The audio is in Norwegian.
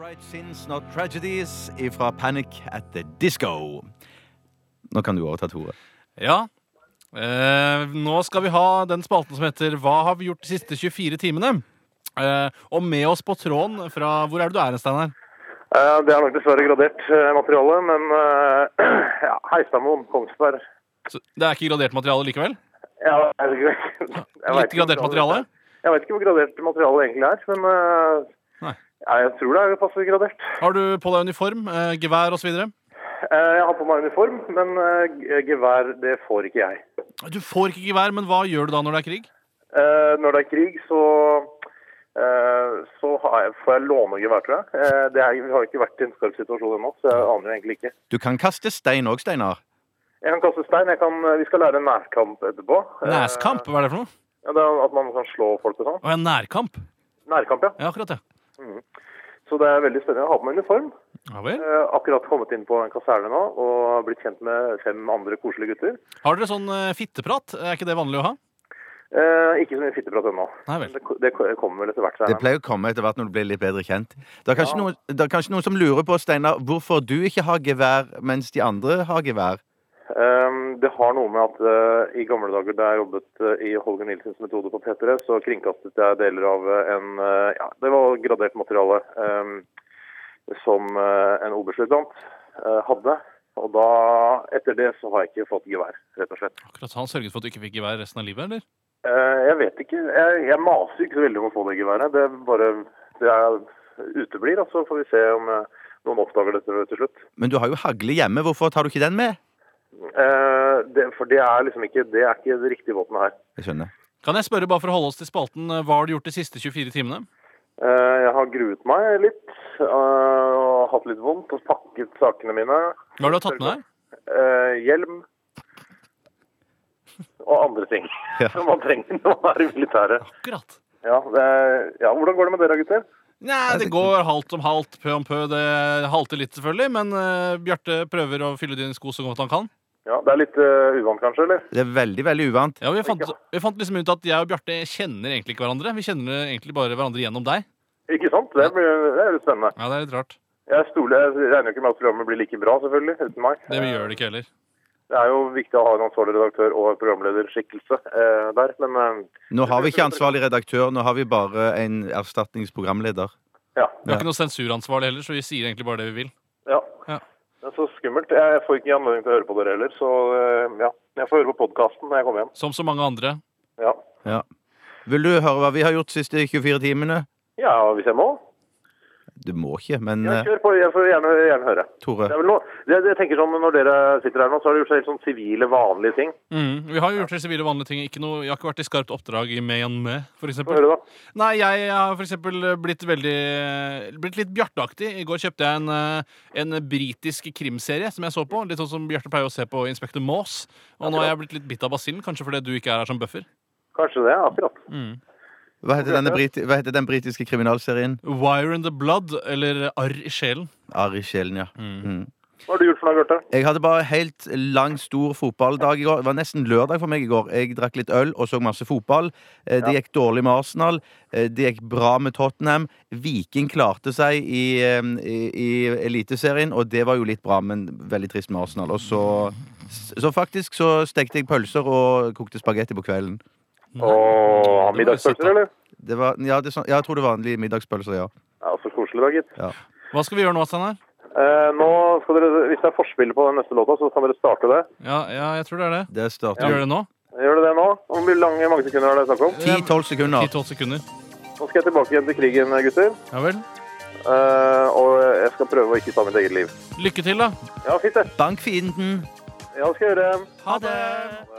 Right Sins Not Tragedies ifra Panic at the Disco. Nå kan du overta, Tore. Ja. Eh, nå skal vi ha den spalten som heter Hva har vi gjort de siste 24 timene? Eh, og med oss på tråden fra Hvor er det du er, Steinar? Eh, Det er nok dessverre gradert eh, materiale, men eh, ja, Heistadmoen, Kongsberg Så Det er ikke gradert materiale likevel? ja, jeg vet ikke- jeg vet Litt ikke hvor gradert materiale? Jeg vet ikke hvor gradert materialet egentlig er, men eh, Nei. ja, jeg tror det er passe gradert. Har du på deg uniform, eh, gevær osv.? Eh, Jeg har på meg uniform, men eh, g- gevær det får ikke jeg. Du får ikke gevær, men hva gjør du da når det er krig? Eh, Når det er krig, så eh, så har jeg, får jeg låne gevær, tror jeg. Eh, Det er, vi har ikke vært i en skarp situasjon ennå, så jeg aner jo egentlig ikke. Du kan kaste stein òg, Steinar. Jeg kan kaste stein. Jeg kan, eh, vi skal lære nærkamp etterpå. Eh, Næskamp, hva er det for noe? Ja, det er At man kan slå folk og sånn. Å ja, nærkamp. Nærkamp, ja. Ja, akkurat det. Så det er veldig spennende. Jeg har på meg uniform. Ja vel. Eh, akkurat kommet inn på en kaserne nå og blitt kjent med fem andre koselige gutter. Har dere sånn eh, fitteprat? Er ikke det vanlig å ha? Eh, ikke så mye fitteprat ennå. Nei Men vel. Det, ko- det ko- kommer vel etter hvert. Det Steinar. pleier å komme etter hvert når du blir litt bedre kjent. Det er kanskje, noen, det er kanskje noen som lurer på, Steinar, hvorfor du ikke har gevær, mens de andre har gevær. Eh, det har noe med at eh, i gamle dager da jeg jobbet eh, i Holger Nilsens metode på P3, så kringkastet jeg deler av eh, en eh, Ja, det var gradert materiale eh, som eh, en oberstløytnant eh, hadde. Og da, etter det, så har jeg ikke fått gevær, rett og slett. Akkurat så Han sørget for at du ikke fikk gevær resten av livet, eller? Eh, Jeg vet ikke. Jeg, jeg maser ikke så veldig om å få det geværet. Det bare det er, uteblir, og så får vi se om eh, noen oppdager dette til slutt. Men du har jo hagle hjemme, hvorfor tar du ikke den med? Eh, det, for det er liksom ikke det, er ikke det riktige våpenet her. Jeg skjønner. Kan jeg spørre, bare for å holde oss til spalten, eh, hva har du gjort de siste 24 timene? Eh, Jeg har gruet meg litt eh, og hatt litt vondt og pakket sakene mine. Hva har du tatt med deg? Eh, Hjelm. Og andre ting Ja. som man trenger når man er i militæret. Akkurat. Ja, det- ja, hvordan går det med dere, gutter? Nei, det går halvt om halvt, pø om pø. Det halter litt, selvfølgelig, men eh, Bjarte prøver å fylle dine sko så godt han kan. Ja, Det er litt eh, uvant, kanskje? eller? Det er veldig, veldig uvant. Ja, vi fant, vi fant liksom ut at jeg og Bjarte kjenner egentlig ikke hverandre. Vi kjenner egentlig bare hverandre gjennom deg. Ikke sant? Det, blir, det er litt spennende. Ja, det er litt rart. Jeg stoler, jeg regner jo ikke med at programmet blir like bra, selvfølgelig, uten meg. Det vi gjør det ikke heller. Det er jo viktig å ha en ansvarlig redaktør og en programlederskikkelse eh, der, men eh, Nå har vi ikke ansvarlig redaktør, nå har vi bare en erstatningsprogramleder. ja. Vi har ikke noe sensuransvarlig heller, så vi sier egentlig bare det vi vil. ja. Ja. Det er så skummelt. Jeg får ikke anledning til å høre på dere heller, så eh, ja. Jeg får høre på podkasten når jeg kommer hjem. Som så mange andre. Ja, Ja. Vil du høre hva vi har gjort de siste 24 timene? ja hvis jeg må. Du må ikke, men Ja, eh, kjør på. Jeg får gjerne, gjerne høre. Tore. Det er vel noe, jeg, jeg tenker sånn, Når dere sitter her nå, så har dere gjort så helt sånn sivile, vanlige ting. Mm, vi har jo gjort det sivile, vanlige ting. Ikke noe, jeg har ikke vært i skarpt oppdrag i Myanmar, for Få eksempel. høre, da. Nei, jeg har for eksempel blitt veldig Blitt litt bjarteaktig. I går kjøpte jeg en, eh, en britisk krimserie som jeg så på. Litt sånn som Bjarte pleier å se på Inspector Maas. Og nå har jeg blitt litt bitt av basillen, kanskje fordi du ikke er her som bøffer. Kanskje det. Akkurat. Mm. Hva heter, denne briti hva heter den britiske kriminalserien? Wire in the blood, eller Arr i sjelen. Arr i sjelen, ja. Mm. Hva har du gjort for noe, Bjarte? Jeg hadde bare helt lang, stor fotballdag i går. Det var nesten lørdag for meg i går. Jeg drakk litt øl og så masse fotball. Eh, Det gikk dårlig med Arsenal. Eh, Det gikk bra med Tottenham. Viking klarte seg i, eh, i, i Eliteserien, og det var jo litt bra, men veldig trist med Arsenal. Og så, så faktisk så stekte jeg pølser og kokte spagetti på kvelden. Åh, det var jo søtt, da. middagspølser, eller? Det var, ja, det, er sånn- ja, jeg tror det var vanlige middagspølser, ja. Ja, Så koselig, da, gitt. Hva skal vi gjøre nå, Steinar? Eh, nå skal dere, Hvis det er forspillet på den neste låta, så kan dere starte det. Ja, ja, jeg tror det er det. Det Du gjør starter det nå? Gjør dere det nå? Hvor mye lange mange sekunder er det snakk om? 10-12 sekunder. 10-12 sekunder. Nå skal jeg tilbake igjen til krigen, gutter. Ja vel. Eh, og jeg skal prøve å ikke ta mitt eget liv. Lykke til, da. Ja, fint det. Bank fienden. Ja, det skal jeg gjøre. Ha det!